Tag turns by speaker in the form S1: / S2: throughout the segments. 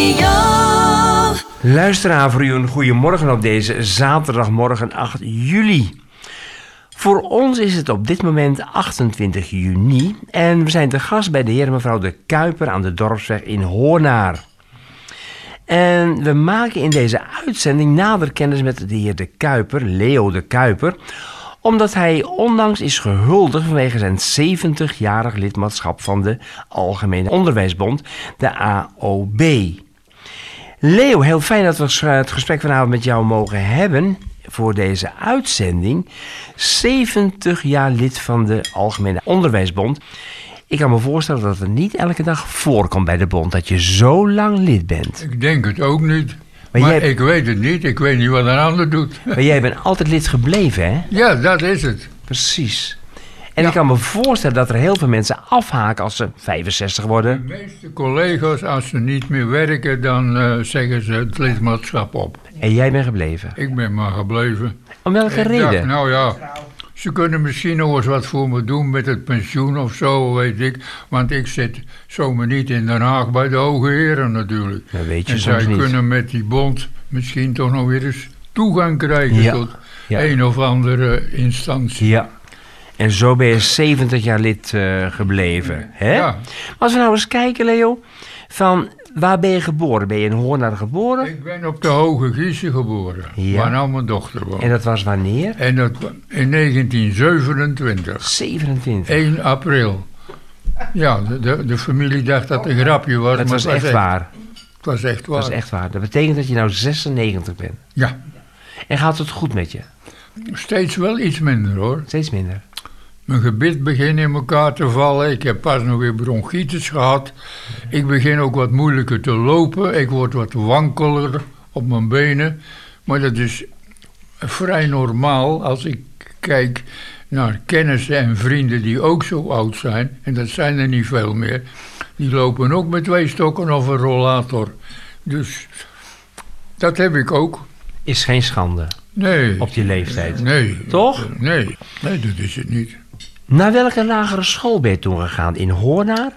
S1: Klokradio.
S2: Luisteraar voor u een goede morgen op deze zaterdagmorgen 8 juli. Voor ons is het op dit moment 28 juni en we zijn te gast bij de heer en mevrouw De Kuiper aan de Dorpsweg in Hoornaar. En we maken in deze uitzending nader kennis met de heer De Kuiper, Leo De Kuiper, omdat hij onlangs is gehuldigd vanwege zijn 70-jarig lidmaatschap van de Algemene Onderwijsbond, de AOB. Leo, heel fijn dat we ges- het gesprek vanavond met jou mogen hebben voor deze uitzending. 70 jaar lid van de Algemene Onderwijsbond. Ik kan me voorstellen dat het niet elke dag voorkomt bij de bond dat je zo lang lid bent.
S3: Ik denk het ook niet.
S2: Maar
S3: Maar,
S2: jij-
S3: ik weet het niet. Ik weet niet wat een ander doet.
S2: Maar jij bent altijd lid gebleven, hè?
S3: ja, dat is het.
S2: Precies. En
S3: Ja.
S2: ik kan me voorstellen dat er heel veel mensen afhaken als ze 65
S3: De
S2: worden.
S3: meeste collega's, als ze niet meer werken, dan eh, zeggen ze het lidmaatschap op.
S2: En jij bent gebleven.
S3: Ik ben maar gebleven.
S2: Om welke
S3: Ik dacht,
S2: reden?
S3: nou ja, ze kunnen misschien nog eens wat voor me doen met het pensioen of zo, weet ik. Want ik zit zomaar niet in Den Haag bij de hoge heren natuurlijk.
S2: Dat weet je
S3: En
S2: soms
S3: zij
S2: niet.
S3: kunnen met die bond misschien toch nog weer eens toegang krijgen
S2: Ja,
S3: tot
S2: ja.
S3: een of andere instantie.
S2: Ja. En zo ben je 70 jaar lid eh, gebleven. Hè?
S3: Mm. Ja.
S2: Maar als we nou eens kijken, Leo, van waar ben je geboren? Ben je in Hoornaar geboren?
S3: Ik ben op de Hoge Giezen geboren,
S2: Ja.
S3: waar nou mijn dochter woont.
S2: En dat was wanneer?
S3: En dat wa- in 1927,
S2: 27.
S3: 1 april. Ja, de, de, de familie dacht dat het een grapje was.
S2: Dat
S3: maar
S2: was echt waar.
S3: Het was echt waar.
S2: Dat was echt waar. Dat betekent dat je nou 96 bent.
S3: Ja,
S2: En gaat het goed met je?
S3: steeds wel iets minder hoor.
S2: Steeds minder.
S3: Mijn gebit begint in elkaar te vallen. Ik heb pas nog weer bronchitis gehad. Ik begin ook wat moeilijker te lopen. Ik word wat wankeler op mijn benen. Maar dat is vrij normaal als ik kijk naar kennissen en vrienden die ook zo oud zijn. En dat zijn er niet veel meer. Die lopen ook met twee stokken of een rollator. Dus dat heb ik ook.
S2: Is geen schande
S3: Nee.
S2: op je leeftijd.
S3: Nee.
S2: Toch?
S3: Nee. Nee, dat is het niet.
S2: Naar welke lagere school ben je toen gegaan? In Hoornaar?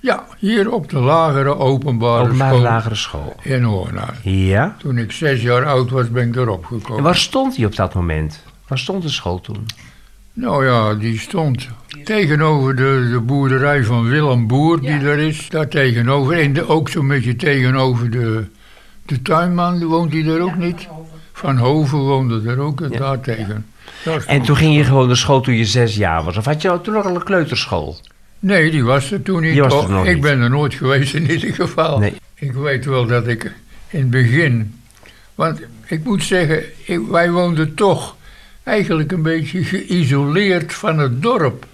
S3: Ja, hier op de lagere openbare
S2: Openbare
S3: school
S2: lagere school.
S3: in Hoornaar.
S2: Ja.
S3: Toen ik zes jaar oud was, ben ik erop
S2: En
S3: gekomen.
S2: waar stond die op dat moment? Waar stond de school toen?
S3: Nou ja, die stond tegenover de, de boerderij van Willem Boer, die er is. Daar tegenover, en de, ook zo'n beetje tegenover de, de tuinman, woont die er ook niet? Van Hoven woonde er ook, daar tegen. Daar stond-
S2: En toen ging je gewoon naar school toen je zes jaar was? Of had je toen nog al een kleuterschool?
S3: Nee, die was er toen niet.
S2: Die was er
S3: Oh,
S2: nog
S3: ik
S2: niet.
S3: ben er nooit geweest in ieder geval.
S2: Nee.
S3: Ik weet wel dat ik in het begin... Want ik moet zeggen, ik- wij woonden toch eigenlijk een beetje geïsoleerd van het dorp.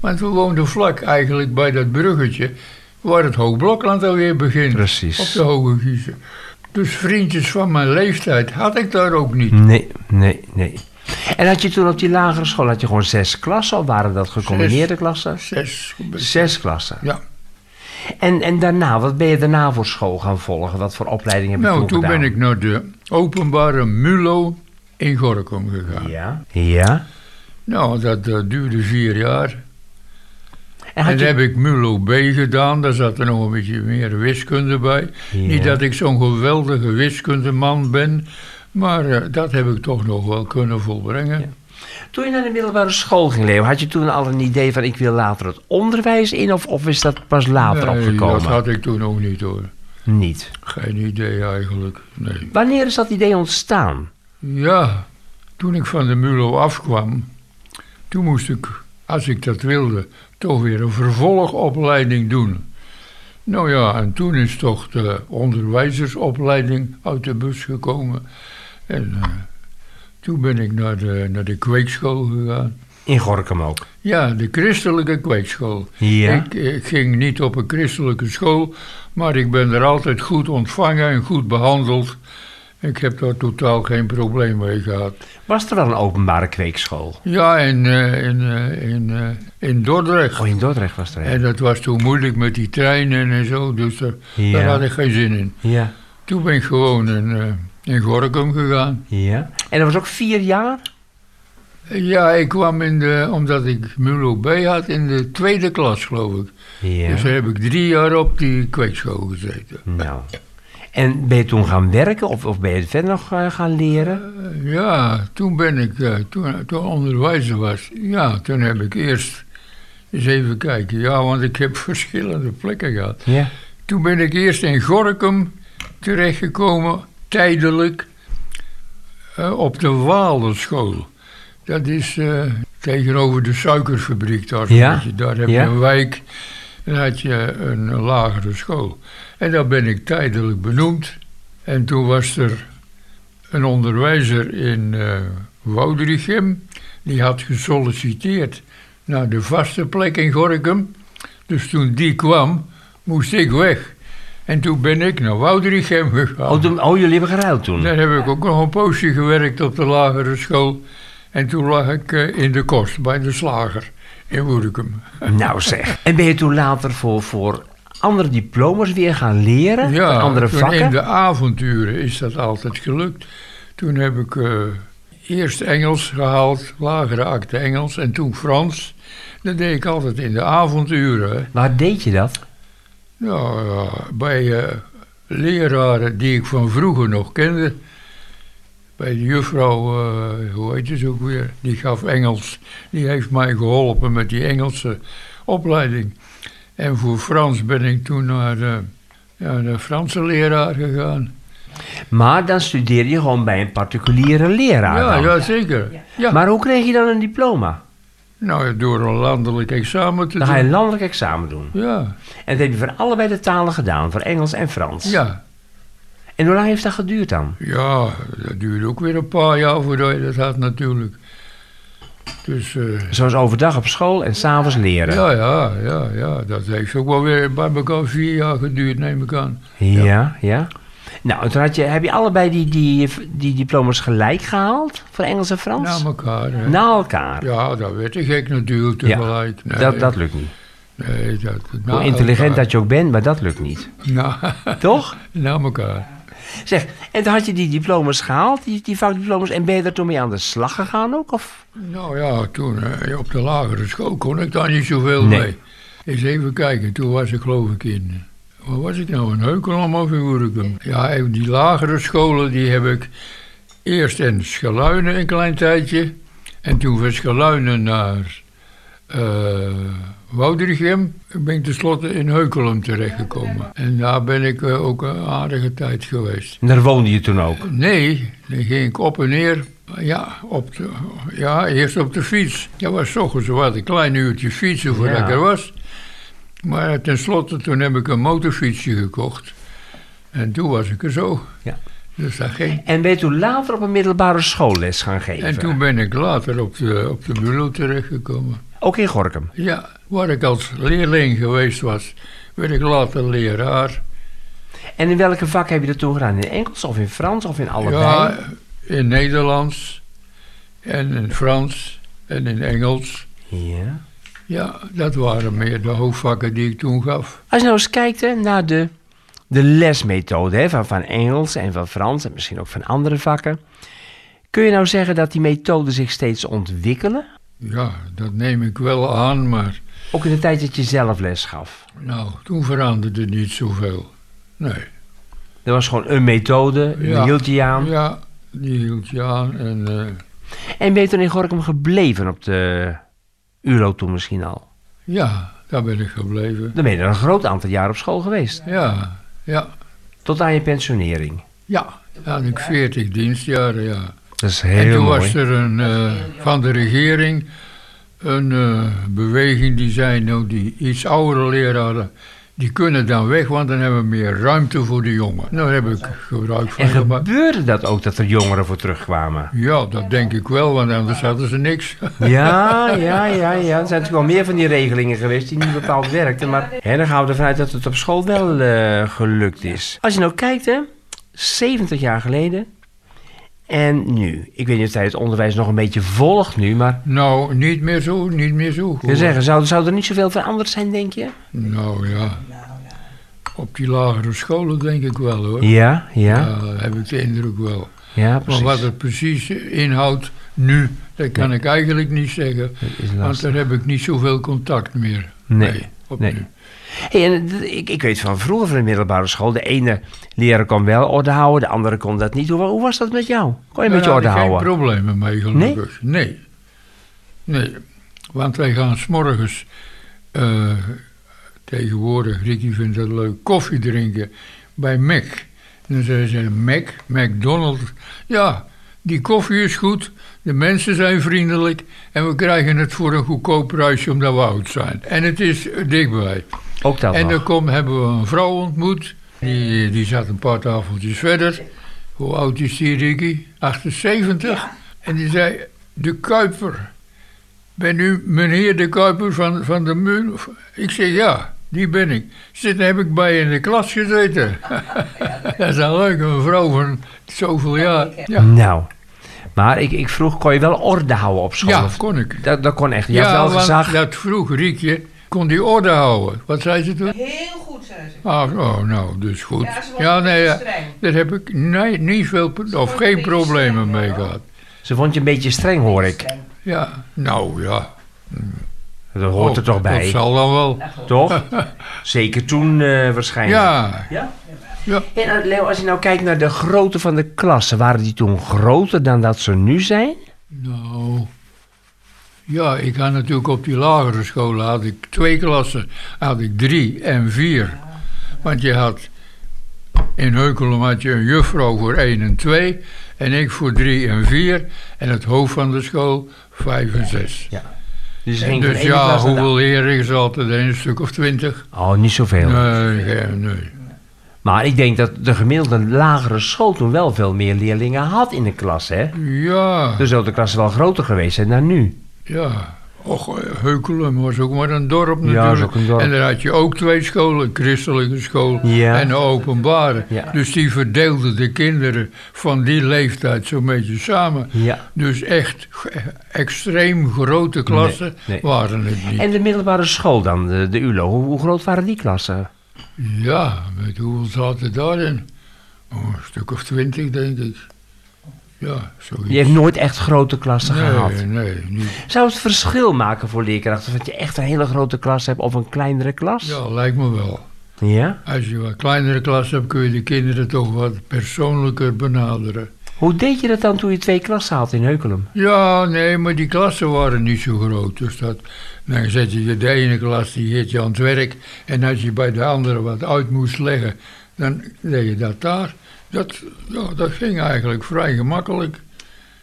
S3: Want we woonden vlak eigenlijk bij dat bruggetje... waar het Hoogblokland alweer begint.
S2: Precies.
S3: Op de Hoge Giezen. Dus vriendjes van mijn leeftijd had ik daar ook niet.
S2: Nee, nee, nee. En had je toen op die lagere school had je gewoon zes klassen? Of waren dat gecombineerde
S3: Zes.
S2: klassen?
S3: Zes.
S2: Zes klassen.
S3: Ja.
S2: En, en daarna, wat ben je daarna voor school gaan volgen? Wat voor opleiding heb je
S3: Nou,
S2: toen
S3: toen
S2: gedaan?
S3: ben ik naar de openbare MULO in Gorkum gegaan.
S2: Ja. Ja.
S3: Nou, dat eh, duurde vier jaar.
S2: En
S3: en
S2: had
S3: dan
S2: je...
S3: heb ik MULO B gedaan. Daar zat er nog een beetje meer wiskunde bij.
S2: Ja.
S3: Niet dat ik zo'n geweldige wiskundeman ben. Maar eh, dat heb ik toch nog wel kunnen volbrengen.
S2: Toen je naar de middelbare school ging, Leo, had je toen al een idee van ik wil later het onderwijs in? Of, of is dat pas later
S3: Nee,
S2: opgekomen?
S3: dat had ik toen ook niet hoor.
S2: Niet.
S3: Geen idee eigenlijk. Nee.
S2: Wanneer is dat idee ontstaan?
S3: Ja, toen ik van de MULO afkwam, toen moest ik, als ik dat wilde, toch weer een vervolgopleiding doen. Nou ja, en toen is toch de onderwijzersopleiding uit de bus gekomen. En eh, toen ben ik naar de, naar de kweekschool gegaan.
S2: In Gorkum ook.
S3: Ja, de christelijke kweekschool.
S2: Ja.
S3: Ik, ik ging niet op een christelijke school, maar ik ben er altijd goed ontvangen en goed behandeld. Ik heb daar totaal geen probleem mee gehad.
S2: Was er wel een openbare kweekschool?
S3: Ja, in, eh, in, eh, in, eh, in Dordrecht.
S2: Oh, in Dordrecht was er
S3: En
S2: een.
S3: dat was toen moeilijk met die treinen en zo, dus daar,
S2: Ja.
S3: daar had ik geen zin in.
S2: Ja.
S3: Toen ben ik gewoon in, eh in Gorkum gegaan.
S2: Ja. En dat was ook vier jaar?
S3: Ja, ik kwam in de, omdat ik Mulo B had, in de tweede klas geloof ik.
S2: Ja.
S3: Dus daar heb ik drie jaar op die kweekschool gezeten.
S2: Nou. En ben je toen gaan werken of, of ben je verder nog eh, gaan leren?
S3: Ja, toen ben ik, eh, toen, toen onderwijzer was, ja, toen heb ik eerst eens even kijken. Ja, want ik heb verschillende plekken gehad.
S2: Ja.
S3: Toen ben ik eerst in Gorkum terechtgekomen, tijdelijk, eh, op de Waalenschool. Dat is eh, tegenover de suikerfabriek daar. zo'n
S2: Ja,
S3: beetje. Daar heb
S2: ja.
S3: je een wijk en had je een lagere school. En daar ben ik tijdelijk benoemd. En toen was er een onderwijzer in eh Woudrichem. Die had gesolliciteerd naar de vaste plek in Gorkum. Dus toen die kwam, moest ik weg. En toen ben ik naar Woudrichem gegaan.
S2: Oh, toen- oh, jullie hebben geruild toen?
S3: Daar heb ik ook nog een poosje gewerkt op de lagere school. En toen lag ik eh, in de kost bij de slager in Woerkum.
S2: Nou zeg. En ben je toen later voor, voor andere diplomas weer gaan leren?
S3: Ja,
S2: Voor andere
S3: toen
S2: vakken?
S3: in de avonduren is dat altijd gelukt. Toen heb ik eh, eerst Engels gehaald, lagere acte Engels, en toen Frans. Dat deed ik altijd in de avonduren. hè.
S2: Waar deed je dat?
S3: Nou ja, bij eh, leraren die ik van vroeger nog kende. Bij de juffrouw, eh, hoe heet ze ook weer, die gaf Engels. Die heeft mij geholpen met die Engelse opleiding. En voor Frans ben ik toen naar de, ja, de Franse leraar gegaan.
S2: Maar dan studeer je gewoon bij een particuliere leraar
S3: ja,
S2: dan.
S3: ja, zeker. Ja.
S2: nou. Maar hoe kreeg je dan een diploma?
S3: Nou, ja, door een landelijk examen te
S2: Dan ga je een
S3: doen.
S2: landelijk examen doen.
S3: Ja,
S2: En dat heb je voor allebei de talen gedaan, voor Engels en Frans.
S3: ja.
S2: En hoe lang heeft dat geduurd dan?
S3: Ja, dat duurde ook weer een paar jaar voordat je dat had natuurlijk. Dus... eh,
S2: Zoals overdag op school en s'avonds leren.
S3: Ja, ja, ja, ja. Dat heeft ook wel weer bij elkaar vier jaar geduurd, neem ik aan.
S2: Ja, ja. Nou, toen had je, heb je allebei die, die, die diploma's gelijk gehaald voor Engels en Frans?
S3: Na elkaar. hè.
S2: Na elkaar.
S3: Ja, dat werd ik gek natuurlijk
S2: Ja,
S3: tegelijk. Nee,
S2: dat, dat lukt niet.
S3: nee, dat, na
S2: Hoe intelligent
S3: elkaar.
S2: dat je ook bent, maar dat lukt niet.
S3: Na,
S2: Toch?
S3: na elkaar.
S2: Zeg, en toen had je die diploma's gehaald, die, die vakdiploma's, en ben je daar toen mee aan de slag gegaan ook? Of?
S3: Nou ja, toen eh, op de lagere school kon ik daar niet zoveel
S2: Nee.
S3: mee. Eens even kijken, toen was ik geloof ik in... Waar was ik nou? In Heukelom of in Woerkum? Ja, en die lagere scholen die heb ik eerst in Scheluinen een klein tijdje. En toen van Scheluinen naar eh Woudrichem ben ik tenslotte in Heukelum terechtgekomen. En daar ben ik eh, ook een aardige tijd geweest.
S2: En daar woonde je toen ook.
S3: Nee, dan ging ik op en neer. Ja, op de, ja eerst op de fiets. Dat was 's ochtends wat, een klein uurtje fietsen voordat
S2: Ja.
S3: ik er was. Maar tenslotte, toen heb ik een motorfietsje gekocht. En toen was ik er zo.
S2: Ja.
S3: Dus dat ging.
S2: En ben je toen later op een middelbare schoolles gaan geven?
S3: En toen ben ik later op de, op de bureau terechtgekomen.
S2: Ook in Gorkum?
S3: Ja, waar ik als leerling geweest was, werd ik later leraar.
S2: En in welke vak heb je dat toen gedaan? In Engels of in Frans of in allebei?
S3: Ja, in Nederlands en in Frans en in Engels.
S2: ja.
S3: Ja, dat waren meer de hoofdvakken die ik toen gaf.
S2: Als je nou eens kijkt hè, naar de, de lesmethode hè, van, van Engels en van Frans en misschien ook van andere vakken. Kun je nou zeggen dat die methoden zich steeds ontwikkelen?
S3: Ja, dat neem ik wel aan, maar
S2: Ook in de tijd dat je zelf les gaf.
S3: nou, toen veranderde niet zoveel. Nee.
S2: Er was gewoon een methode, die
S3: Ja.
S2: hield je aan.
S3: Ja, die hield je aan en eh,
S2: En ben je toen in Gorkum gebleven op de ULO toen misschien al?
S3: ja, daar ben ik gebleven.
S2: Dan ben je er een groot aantal jaar op school geweest.
S3: Ja, ja,
S2: Tot aan je pensionering.
S3: ja. Dan had ik veertig dienstjaren, ja.
S2: Dat is
S3: en
S2: heel
S3: toen
S2: mooi.
S3: was er een, eh, van de regering een eh, beweging die zei, nou die iets oudere leraren, die kunnen dan weg, want dan hebben we meer ruimte voor de jongen. Nou, daar heb ik gebruik van
S2: En
S3: gemaakt.
S2: gebeurde dat ook dat er jongeren voor terugkwamen?
S3: Ja, dat denk ik wel, want anders hadden ze niks.
S2: Ja, ja, ja, ja. Er zijn natuurlijk wel meer van die regelingen geweest die niet bepaald werkten. Maar hè, dan gaan we ervan uit dat het op school wel eh, gelukt is. Als je nou kijkt, hè, 70 jaar geleden en nu. Ik weet niet of jij het onderwijs nog een beetje volgt nu, maar...
S3: Nou, niet meer zo, niet meer zo.
S2: Ik wil zeggen, zou, zou er niet zoveel veranderd zijn, denk je?
S3: Nou ja. Nou, Op die lagere scholen denk ik wel hoor.
S2: Ja, ja,
S3: Ja, heb ik de indruk wel.
S2: ja,
S3: Maar
S2: precies.
S3: wat het precies inhoudt nu, dat kan ik eigenlijk niet zeggen.
S2: Dat is
S3: Want
S2: lastig.
S3: daar heb ik niet zoveel contact meer
S2: Nee,
S3: mee. op
S2: nee.
S3: nu.
S2: Hey, en d- ik, ik weet van vroeger van de middelbare school, de ene leraar kon wel orde houden, de andere kon dat niet. Hoe, wa- hoe was dat met jou? Kon je
S3: Daar
S2: met je
S3: had
S2: orde
S3: Nou, ik geen
S2: houden?
S3: problemen mee, gelukkig. Nee? Nee. Want wij gaan s'morgens eh tegenwoordig, Ricky vindt dat leuk, koffie drinken bij Mac. En dan zei ze, Mac, McDonald's. Ja, die koffie is goed, de mensen zijn vriendelijk... en we krijgen het voor een goedkoop prijsje omdat we oud zijn. En het is dichtbij.
S2: Ook dat
S3: En
S2: nog.
S3: dan kom, hebben we een vrouw ontmoet. Die, die zat een paar tafeltjes verder. Hoe oud is die, Ricky? 78. En die zei, de Kuiper. Ben u meneer de Kuiper van, van de Muur? Ik zeg, ja, die ben ik. Zit, heb ik bij je in de klas gezeten. Dat is een leuke vrouw van zoveel jaar. Ja,
S2: Nou, maar ik, ik vroeg, kon je wel orde houden op school?
S3: ja
S2: Of-
S3: kon ik.
S2: dat, dat kon echt. Je had
S3: Ja,
S2: wel gezag.
S3: want dat vroeg Riekje. Kon die orde houden. Wat zei ze toen?
S4: Heel goed, zei ze.
S3: Ah, oh, nou, dus goed.
S4: Ja, ze was
S3: Ja,
S4: een
S3: nee,
S4: beetje
S3: ja,
S4: streng.
S3: daar heb ik nee, niet veel pro- of
S4: een
S3: geen
S4: beetje
S3: problemen
S4: streng,
S3: mee
S4: hoor.
S3: gehad.
S2: Ze vond je een beetje streng, hoor ik.
S3: Ja, nou ja.
S2: Dat hoort
S3: Oh,
S2: er toch bij,
S3: Dat zal dan wel.
S2: toch? Zeker toen eh, waarschijnlijk.
S3: Ja,
S2: Ja?
S3: Ja.
S2: En eh, Leo, als je nou kijkt naar de grootte van de klassen, waren die toen groter dan dat ze nu zijn?
S3: nou. Ja, ik had natuurlijk op die lagere scholen had ik twee klassen. Had ik drie en vier. Want je had in Heukelum had je een juffrouw voor één en twee. En ik voor drie en vier. En het hoofd van de school vijf en zes.
S2: Dus, ze gingen van
S3: Dus
S2: de ene
S3: ja,
S2: klas naar de
S3: hoeveel leren is er altijd? Een stuk of twintig?
S2: Oh, niet zoveel.
S3: Nee, nee, nee.
S2: Maar ik denk dat de gemiddelde lagere school toen wel veel meer leerlingen had in de klas, hè?
S3: Ja,
S2: Dus zou de klas wel groter geweest zijn dan nu.
S3: ja. Och, eh, Heukelum was ook maar een dorp
S2: is
S3: natuurlijk.
S2: ook een dorp.
S3: En daar had je ook twee scholen, een christelijke school
S2: Ja.
S3: en een openbare.
S2: Ja.
S3: Dus die verdeelden de kinderen van die leeftijd zo'n beetje samen.
S2: Ja.
S3: Dus echt eh, extreem grote klassen
S2: nee.
S3: waren het niet.
S2: En de middelbare school dan, de, de ULO, hoe, hoe groot waren die klassen?
S3: Ja, met hoeveel zaten daarin? Oh, een stuk of twintig, denk ik. Ja, zoiets.
S2: Je hebt nooit echt grote klassen gehad.
S3: Nee, nee, niet.
S2: Zou het verschil maken voor leerkrachten dat je echt een hele grote klas hebt of een kleinere klas?
S3: Ja, lijkt me wel.
S2: Ja?
S3: Als je wat kleinere klas hebt, kun je de kinderen toch wat persoonlijker benaderen.
S2: Hoe deed je dat dan toen je twee klassen had in Heukelum?
S3: Ja, nee, maar die klassen waren niet zo groot. Dus dat, dan zet je de ene klas, die heet je aan het werk. En als je bij de andere wat uit moest leggen, dan deed je dat daar. Dat, ja, dat ging eigenlijk vrij gemakkelijk.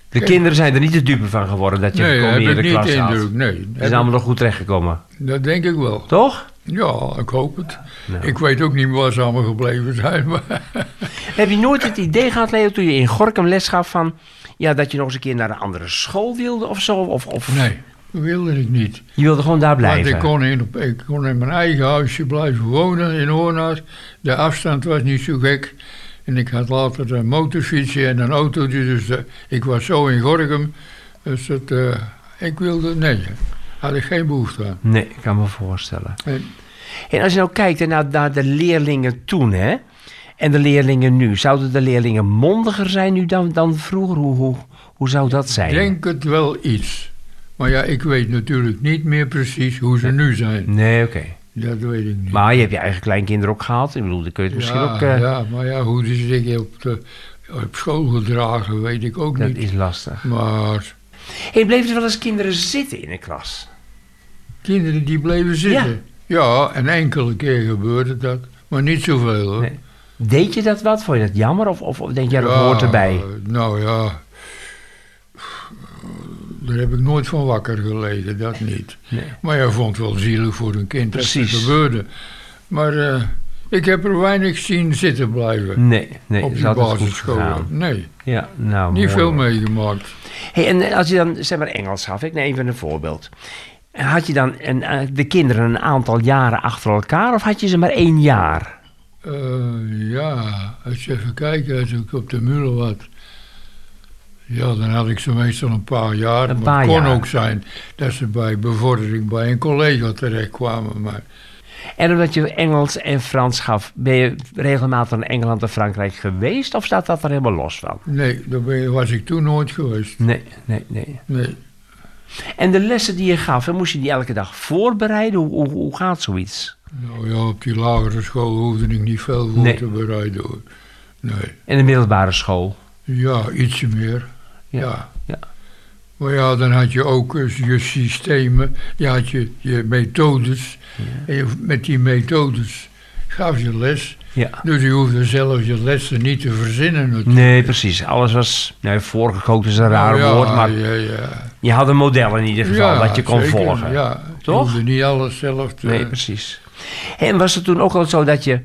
S2: De kinderen zijn er niet de dupe van geworden dat je
S3: nee,
S2: een
S3: heb ik
S2: gecombineerde
S3: niet
S2: klas
S3: de
S2: had.
S3: indruk, nee.
S2: Ze
S3: Heb
S2: zijn allemaal nog goed terechtgekomen,
S3: ik- dat denk ik wel.
S2: toch?
S3: Ja, ik hoop het. Ik weet ook niet waar ze allemaal gebleven zijn, maar...
S2: Heb je nooit het idee gehad, Leo, toen je in Gorkum les gaf van... Ja, dat je nog eens een keer naar een andere school wilde of zo? Of, of
S3: Nee, dat wilde ik niet.
S2: je wilde gewoon daar
S3: Want ik
S2: blijven?
S3: kon, in, ik kon in mijn eigen huisje blijven wonen in Hoornaars. De afstand was niet zo gek. En ik had later een motorfietsje en een autootje. Dus de- ik was zo in Gorkum. Dus dat, eh, ik wilde... Nee, had ik geen behoefte aan.
S2: Nee, ik kan me voorstellen.
S3: Nee.
S2: En als je nou kijkt hè, naar, naar de leerlingen toen, hè? En de leerlingen nu. Zouden de leerlingen mondiger zijn nu dan, dan vroeger? Hoe, hoe, hoe zou dat zijn?
S3: Ik denk het wel iets. Maar ja, ik weet natuurlijk niet meer precies hoe ze nu zijn.
S2: Nee, oké.
S3: Dat weet ik niet.
S2: Maar je hebt je eigen kleinkinderen ook gehad. Ik bedoel, dan kun je het misschien
S3: ja,
S2: ook... eh,
S3: ja, maar ja, hoe die zich op, de, op school gedragen, weet ik ook
S2: Dat
S3: niet.
S2: is lastig.
S3: Maar
S2: Hey, bleven er wel eens kinderen zitten in de klas?
S3: kinderen die bleven zitten. Ja. en enkele keer gebeurde dat. Maar niet zoveel hoor.
S2: Nee. Deed je dat wat? Vond je dat jammer? Of, of of denk jij, dat
S3: Ja,
S2: hoort erbij?
S3: Nou ja, daar heb ik nooit van wakker gelegen, dat niet.
S2: Nee.
S3: Maar je vond het wel zielig voor een kind dat
S2: Precies.
S3: het gebeurde. Maar eh, ik heb er weinig zien zitten blijven.
S2: Nee, nee.
S3: op
S2: is
S3: die
S2: altijd goed
S3: basisschool.
S2: gegaan.
S3: Nee,
S2: Ja, nou,
S3: niet
S2: mooi,
S3: veel
S2: hoor.
S3: meegemaakt.
S2: Hey, en eh, als je dan, zeg maar Engels gaf, ik neem even een voorbeeld. Had je dan een, eh, de kinderen een aantal jaren achter elkaar of had je ze maar één jaar?
S3: Eh, ja, als je even kijkt, als ik op de muren wat. Ja, dan had ik ze meestal een paar jaar.
S2: Een
S3: maar
S2: paar
S3: het kon
S2: jaar.
S3: ook zijn dat ze bij bevordering bij een collega terechtkwamen. Maar
S2: En omdat je Engels en Frans gaf, ben je regelmatig in Engeland en Frankrijk geweest? Of staat dat er helemaal los van?
S3: Nee, daar ben- was ik toen nooit geweest.
S2: Nee, nee, nee.
S3: Nee.
S2: En de lessen die je gaf, hè, moest je die elke dag voorbereiden? Hoe, hoe, hoe gaat zoiets?
S3: Nou ja, op die lagere school hoefde ik niet veel voor
S2: Nee.
S3: te bereiden hoor. Nee.
S2: In de middelbare school?
S3: Ja, ietsje meer.
S2: Ja,
S3: Ja.
S2: ja.
S3: Maar ja, dan had je ook eh, je systemen, je had je, je methodes. En je- met die methodes gaf je les.
S2: Ja.
S3: Dus je hoefde zelf je lessen niet te verzinnen natuurlijk. Oh
S2: Nee, precies. Alles was. Nou, voorgekookt is een raar
S3: ja,
S2: woord, maar
S3: Ja, ja.
S2: je had een model in ieder geval
S3: Ja,
S2: dat je kon
S3: zeker,
S2: volgen.
S3: Ja,
S2: Toch?
S3: Je hoefde niet alles zelf te...
S2: Nee, precies. En was het toen ook al zo dat je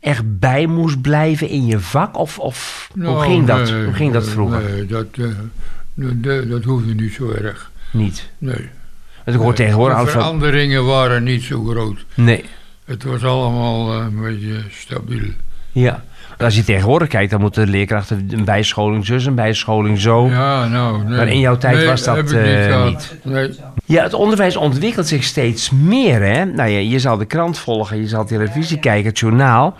S2: echt bij moest blijven in je vak? Of, of hoe,
S3: Nou,
S2: ging dat?
S3: nee,
S2: hoe ging dat vroeger?
S3: Nee, dat, eh, dat, dat, dat hoefde niet zo erg.
S2: Niet.
S3: Nee.
S2: Want ik hoor
S3: Nee,
S2: tegenwoordig
S3: De
S2: altijd van...
S3: veranderingen waren niet zo groot.
S2: Nee,
S3: Het was allemaal eh, een beetje stabiel.
S2: ja. Want als je tegenwoordig kijkt, dan moeten de leerkrachten een bijscholing zus, een bijscholing zo. Ja.
S3: Ja, nou, nee.
S2: Maar in jouw tijd
S3: Nee,
S2: was dat,
S3: heb ik
S2: eh,
S3: niet. gehad.
S2: niet.
S3: Nee.
S2: het onderwijs ontwikkelt zich steeds meer, hè? Nou ja, je zal de krant volgen, je zal televisie kijken, het journaal.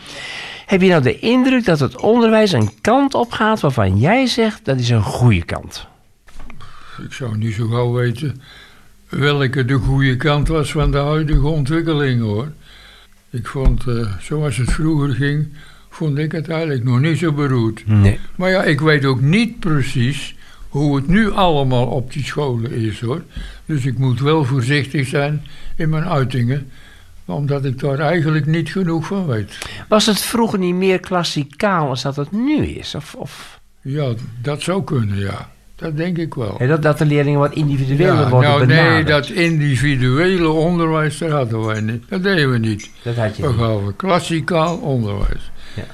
S2: Heb je nou de indruk dat het onderwijs een kant op gaat waarvan jij zegt dat is een goede kant?
S3: Ik zou niet zo gauw weten welke de goede kant was van de huidige ontwikkeling, hoor. Ik vond, eh, zoals het vroeger ging, vond ik het eigenlijk nog niet zo beroerd.
S2: Nee.
S3: Maar ja, ik weet ook niet precies hoe het nu allemaal op die scholen is, hoor. Dus ik moet wel voorzichtig zijn in mijn uitingen, omdat ik daar eigenlijk niet genoeg van weet.
S2: Was het vroeger niet meer klassikaal als dat het nu is? Of, of,
S3: Ja, dat zou kunnen, ja. Dat denk ik wel.
S2: hè, dat, dat de leerlingen wat individueler
S3: Ja,
S2: worden
S3: nou, nee,
S2: benaderd?
S3: dat individuele onderwijs, dat hadden wij niet. Dat deden we niet.
S2: dat had je
S3: We
S2: niet.
S3: gaven klassikaal onderwijs.
S2: Ja.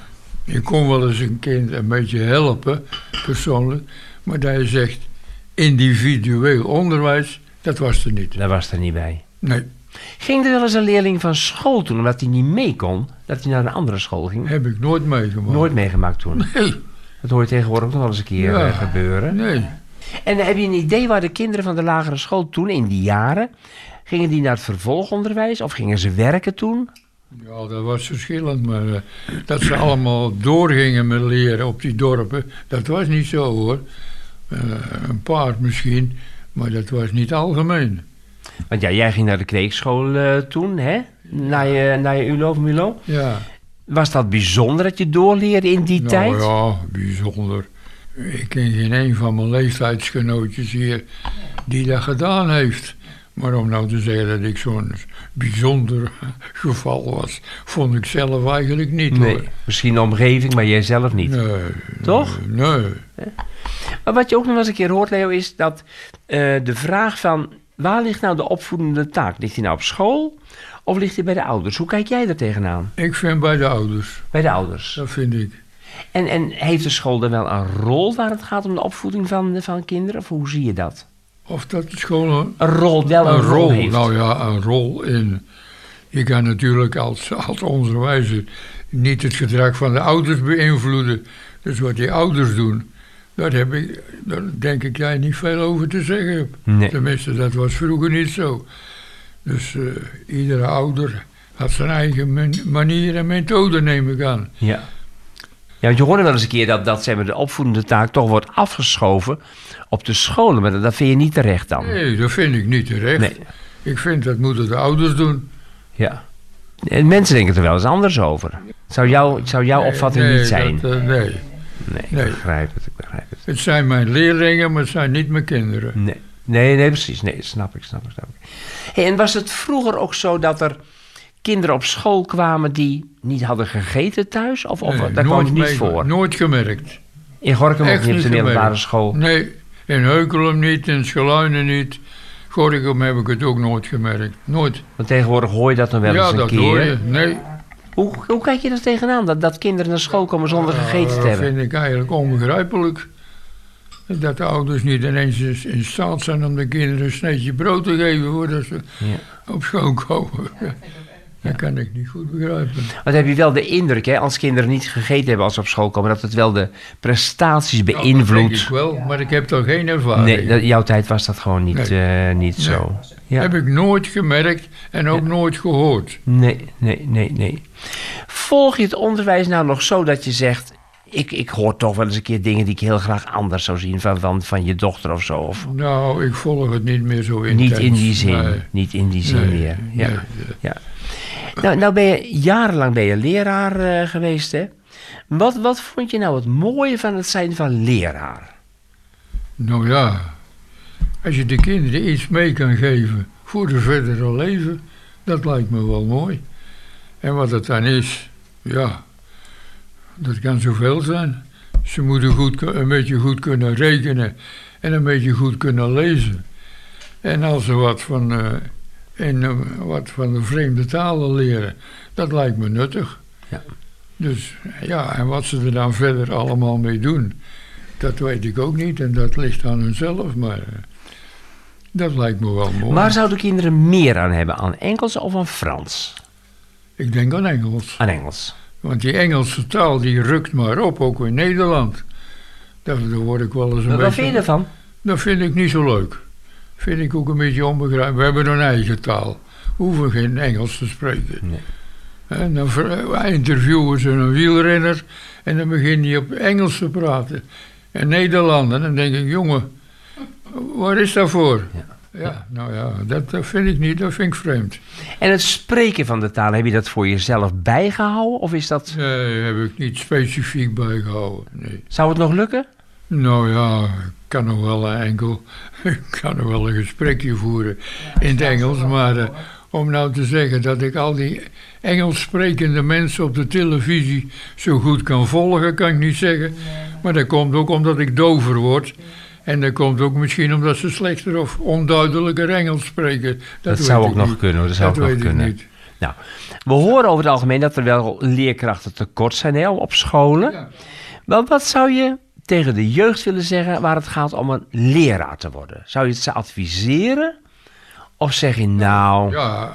S3: Je kon wel eens een kind een beetje helpen, persoonlijk. Maar dat je zegt, individueel onderwijs, dat was er niet.
S2: Daar was er niet bij.
S3: Nee,
S2: Ging er wel eens een leerling van school toen, omdat hij niet mee kon, dat hij naar een andere school ging?
S3: heb ik nooit meegemaakt.
S2: Nooit meegemaakt toen.
S3: Nee,
S2: Dat hoor je tegenwoordig ook nog wel eens een keer
S3: Ja.
S2: eh, gebeuren.
S3: nee.
S2: En eh, heb je een idee waar de kinderen van de lagere school toen, in die jaren, gingen die naar het vervolgonderwijs of gingen ze werken toen?
S3: Ja, dat was verschillend. Maar eh, dat ze allemaal doorgingen met leren op die dorpen, dat was niet zo hoor. Eh, een paar misschien, maar dat was niet algemeen.
S2: Want ja, jij ging naar de kweekschool eh, toen, hè? Naar je, naar je ULO of MULO.
S3: Ja.
S2: Was dat bijzonder dat je doorleerde in die tijd?
S3: Nou ja, bijzonder. Ik ken geen een van mijn leeftijdsgenootjes hier die dat gedaan heeft. Maar om nou te zeggen dat ik zo'n bijzonder geval was, vond ik zelf eigenlijk niet
S2: Nee,
S3: hoor.
S2: misschien de omgeving, maar jij zelf niet.
S3: Nee.
S2: Toch?
S3: Nee.
S2: Maar wat je ook nog wel eens een keer hoort, Leo, is dat eh, de vraag van... waar ligt nou de opvoedende taak? Ligt die nou op school of ligt die bij de ouders? Hoe kijk jij daar tegenaan?
S3: Ik vind bij de ouders,
S2: Bij de ouders.
S3: dat vind ik.
S2: En, en heeft de school dan wel een rol waar het gaat om de opvoeding van, van kinderen? Of hoe zie je dat?
S3: Of dat de school
S2: Een rol, wel een,
S3: Een rol,
S2: heeft.
S3: nou ja, een rol in. Je kan natuurlijk als, als onderwijzer niet het gedrag van de ouders beïnvloeden. Dus wat die ouders doen, daar, heb ik, daar denk ik jij niet veel over te zeggen hebt.
S2: Nee.
S3: Tenminste, dat was vroeger niet zo. Dus eh, iedere ouder had zijn eigen man- manier en methode, neem ik aan.
S2: Ja. Ja, want je hoorde wel eens een keer dat, dat zeg maar, de opvoedende taak toch wordt afgeschoven op de scholen. Maar dat, dat vind je niet terecht dan.
S3: Nee, dat vind ik niet terecht.
S2: Nee.
S3: Ik vind dat moeten de ouders doen.
S2: Ja. En mensen denken er wel eens anders over. Zou, jou, zou jouw
S3: Nee,
S2: opvatting
S3: nee,
S2: niet zijn?
S3: dat, eh, nee,
S2: nee, ik
S3: nee.
S2: begrijp het, ik begrijp het.
S3: het zijn mijn leerlingen, maar het zijn niet mijn kinderen.
S2: Nee, nee, nee precies. Nee, snap ik, snap ik, snap ik. Hey, en was het vroeger ook zo dat er kinderen op school kwamen die niet hadden gegeten thuis? Of, of
S3: Nee,
S2: daar kwam het niet
S3: meegemaakt,
S2: voor?
S3: Nooit gemerkt.
S2: In Gorkum ook
S3: Echt
S2: niet op
S3: niet
S2: de
S3: gemerkt.
S2: middelbare school?
S3: Nee, in Heukelum niet, in Scheluinen niet. Gorinchem heb ik het ook nooit gemerkt. Nooit.
S2: Want tegenwoordig hoor je dat dan wel
S3: ja,
S2: eens een
S3: dat
S2: keer.
S3: hoor je. Nee,
S2: Hoe, hoe kijk je er tegenaan dat, dat kinderen naar school komen zonder gegeten
S3: Nou,
S2: te
S3: dat
S2: hebben?
S3: vind ik eigenlijk onbegrijpelijk. Dat de ouders niet ineens in- in staat zijn om de kinderen een sneetje brood te geven voordat ze
S2: Ja.
S3: op school komen. Dat kan ik niet goed begrijpen. Nou,
S2: Want heb je wel de indruk, hè, als kinderen niet gegeten hebben als ze op school komen, dat het wel de prestaties
S3: Ja, Nou, dat denk ik
S2: beïnvloedt?
S3: wel, maar ik heb daar geen ervaring.
S2: nee, dat- jouw tijd was dat gewoon niet, eh, niet zo. Ja.
S3: Heb ik nooit gemerkt en ook nooit gehoord.
S2: Nee, nee, nee, nee. Volg je het onderwijs nou nog zo dat je zegt. Ik, ik hoor toch wel eens een keer dingen die ik heel graag anders zou zien van, van, van je dochter of zo. Of
S3: Nou, ik volg het niet meer zo intens.
S2: niet in die zin.
S3: Nee.
S2: Niet in die zin
S3: Nee,
S2: meer. Ja.
S3: nee,
S2: ja. Nou, nou ben je jarenlang ben je leraar eh, geweest, hè? Wat, wat vond je nou het mooie van het zijn van leraar?
S3: Nou ja, als je de kinderen iets mee kan geven voor hun verdere leven, dat lijkt me wel mooi. En wat het dan is, ja, dat kan zoveel zijn. Ze moeten goed, ku- een beetje goed kunnen rekenen en een beetje goed kunnen lezen. En als ze wat van, eh, in, eh, wat van de vreemde talen leren, dat lijkt me nuttig.
S2: Ja.
S3: Dus ja, en wat ze er dan verder allemaal mee doen, dat weet ik ook niet en dat ligt aan hunzelf, maar eh, dat lijkt me wel mooi.
S2: Waar zouden kinderen meer aan hebben? Aan Engels of aan Frans?
S3: Ik denk aan Engels,
S2: Aan Engels.
S3: want die Engelse taal die rukt maar op, ook in Nederland. Daar, daar word ik wel eens
S2: Wat
S3: een beetje...
S2: wat vind je ervan?
S3: Dat vind ik niet zo leuk. Vind ik ook een beetje onbegrijpelijk. We hebben een eigen taal. We hoeven geen Engels te spreken.
S2: Nee.
S3: En dan ver- interviewen ze een wielrenner en dan begin je op Engels te praten. En Nederlander, dan denk ik, jongen, waar is dat voor?
S2: Ja.
S3: Ja, nou ja, dat, dat vind ik niet, dat vind ik vreemd.
S2: En het spreken van de taal, heb je dat voor jezelf bijgehouden? Of is dat,
S3: Nee, heb ik niet specifiek bijgehouden, nee.
S2: zou het nog lukken?
S3: Nou ja, ik kan nog wel een enkel, ik kan nog wel een gesprekje voeren in het Engels, maar eh, om nou te zeggen dat ik al die Engels sprekende mensen op de televisie zo goed kan volgen, kan ik niet zeggen. Maar dat komt ook omdat ik dover word. En dat komt ook misschien omdat ze slechter of onduidelijker Engels spreken. Dat,
S2: Dat
S3: weet
S2: zou
S3: ik
S2: ook nog
S3: niet.
S2: kunnen, hoor. Dat zou ook nog
S3: weet ik
S2: kunnen.
S3: niet.
S2: Nou, we horen over het algemeen dat er wel leerkrachten tekort zijn hè, op scholen.
S3: Ja.
S2: Wel, wat zou je tegen de jeugd willen zeggen waar het gaat om een leraar te worden? Zou je het ze adviseren? Of zeg je nou,
S3: Ja,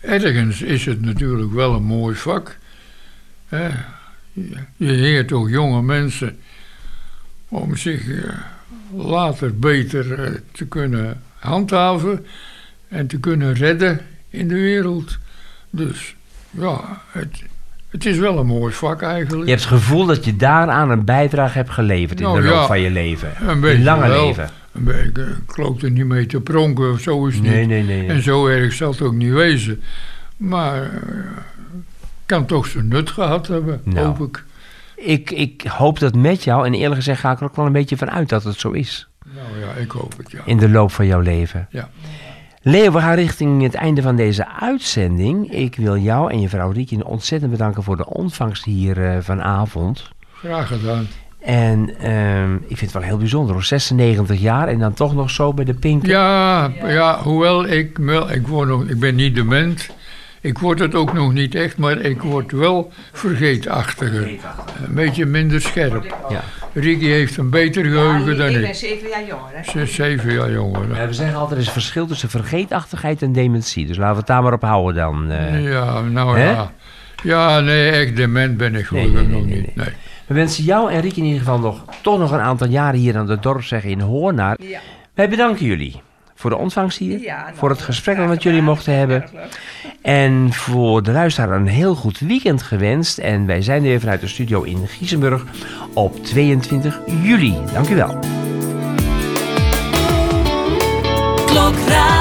S3: ergens is het natuurlijk wel een mooi vak. Hè? Je- Je leert ook jonge mensen om zich eh, later beter eh, te kunnen handhaven en te kunnen redden in de wereld. Dus ja, het, het is wel een mooi vak eigenlijk.
S2: je hebt het gevoel dat je daaraan een bijdrage hebt geleverd
S3: Nou,
S2: in de loop
S3: ja.
S2: van je leven?
S3: Een beetje
S2: je lange
S3: wel.
S2: leven?
S3: Maar Ik, eh, ik loop er niet mee te pronken of zo is het
S2: Nee,
S3: niet.
S2: nee, nee.
S3: En zo erg zal het ook niet wezen. Maar eh, kan toch zijn nut gehad hebben,
S2: Nou.
S3: hoop ik.
S2: Ik, ik hoop dat met jou, en eerlijk gezegd ga ik er ook wel een beetje van uit dat het zo is.
S3: Nou ja, ik hoop het, ja.
S2: in de loop van jouw leven.
S3: Ja.
S2: Leo, we gaan richting het einde van deze uitzending. Ik wil jou en je vrouw Riekje ontzettend bedanken voor de ontvangst hier eh, vanavond.
S3: Graag gedaan.
S2: En ehm, ik vind het wel heel bijzonder, hoor. 96 jaar en dan toch nog zo bij de Pink.
S3: Ja, ja hoewel ik, wel, ik, word nog, ik ben niet dement. Ik word het ook nog niet echt, maar ik word wel vergeetachtiger. Een beetje minder scherp.
S2: Ja.
S3: Ricky heeft een beter geheugen dan
S4: ik ben
S3: ik.
S4: zeven jaar jonger. hè.
S3: Ze is zeven jaar jonger.
S2: Eh, We zeggen altijd, er is verschil tussen vergeetachtigheid en dementie. Dus laten we het daar maar op houden dan. eh.
S3: Ja, nou
S2: Hè?
S3: ja. Ja, nee, echt dement ben ik
S2: Nee,
S3: gelukkig
S2: nee, nee,
S3: nog
S2: nee,
S3: niet. Nee.
S2: We wensen jou en Riek in ieder geval nog, toch nog een aantal jaren hier aan de dorpsweg in Hoornaar.
S4: Ja.
S2: Wij bedanken jullie voor de ontvangst hier,
S4: Ja, nou,
S2: voor het gesprek
S4: graag
S2: dat jullie
S4: gedaan.
S2: mochten hebben.
S4: Erg leuk.
S2: En voor de luisteraar een heel goed weekend gewenst. En wij zijn er weer vanuit de studio in Giezenburg op 22 juli. Dank u wel.
S1: klokradio.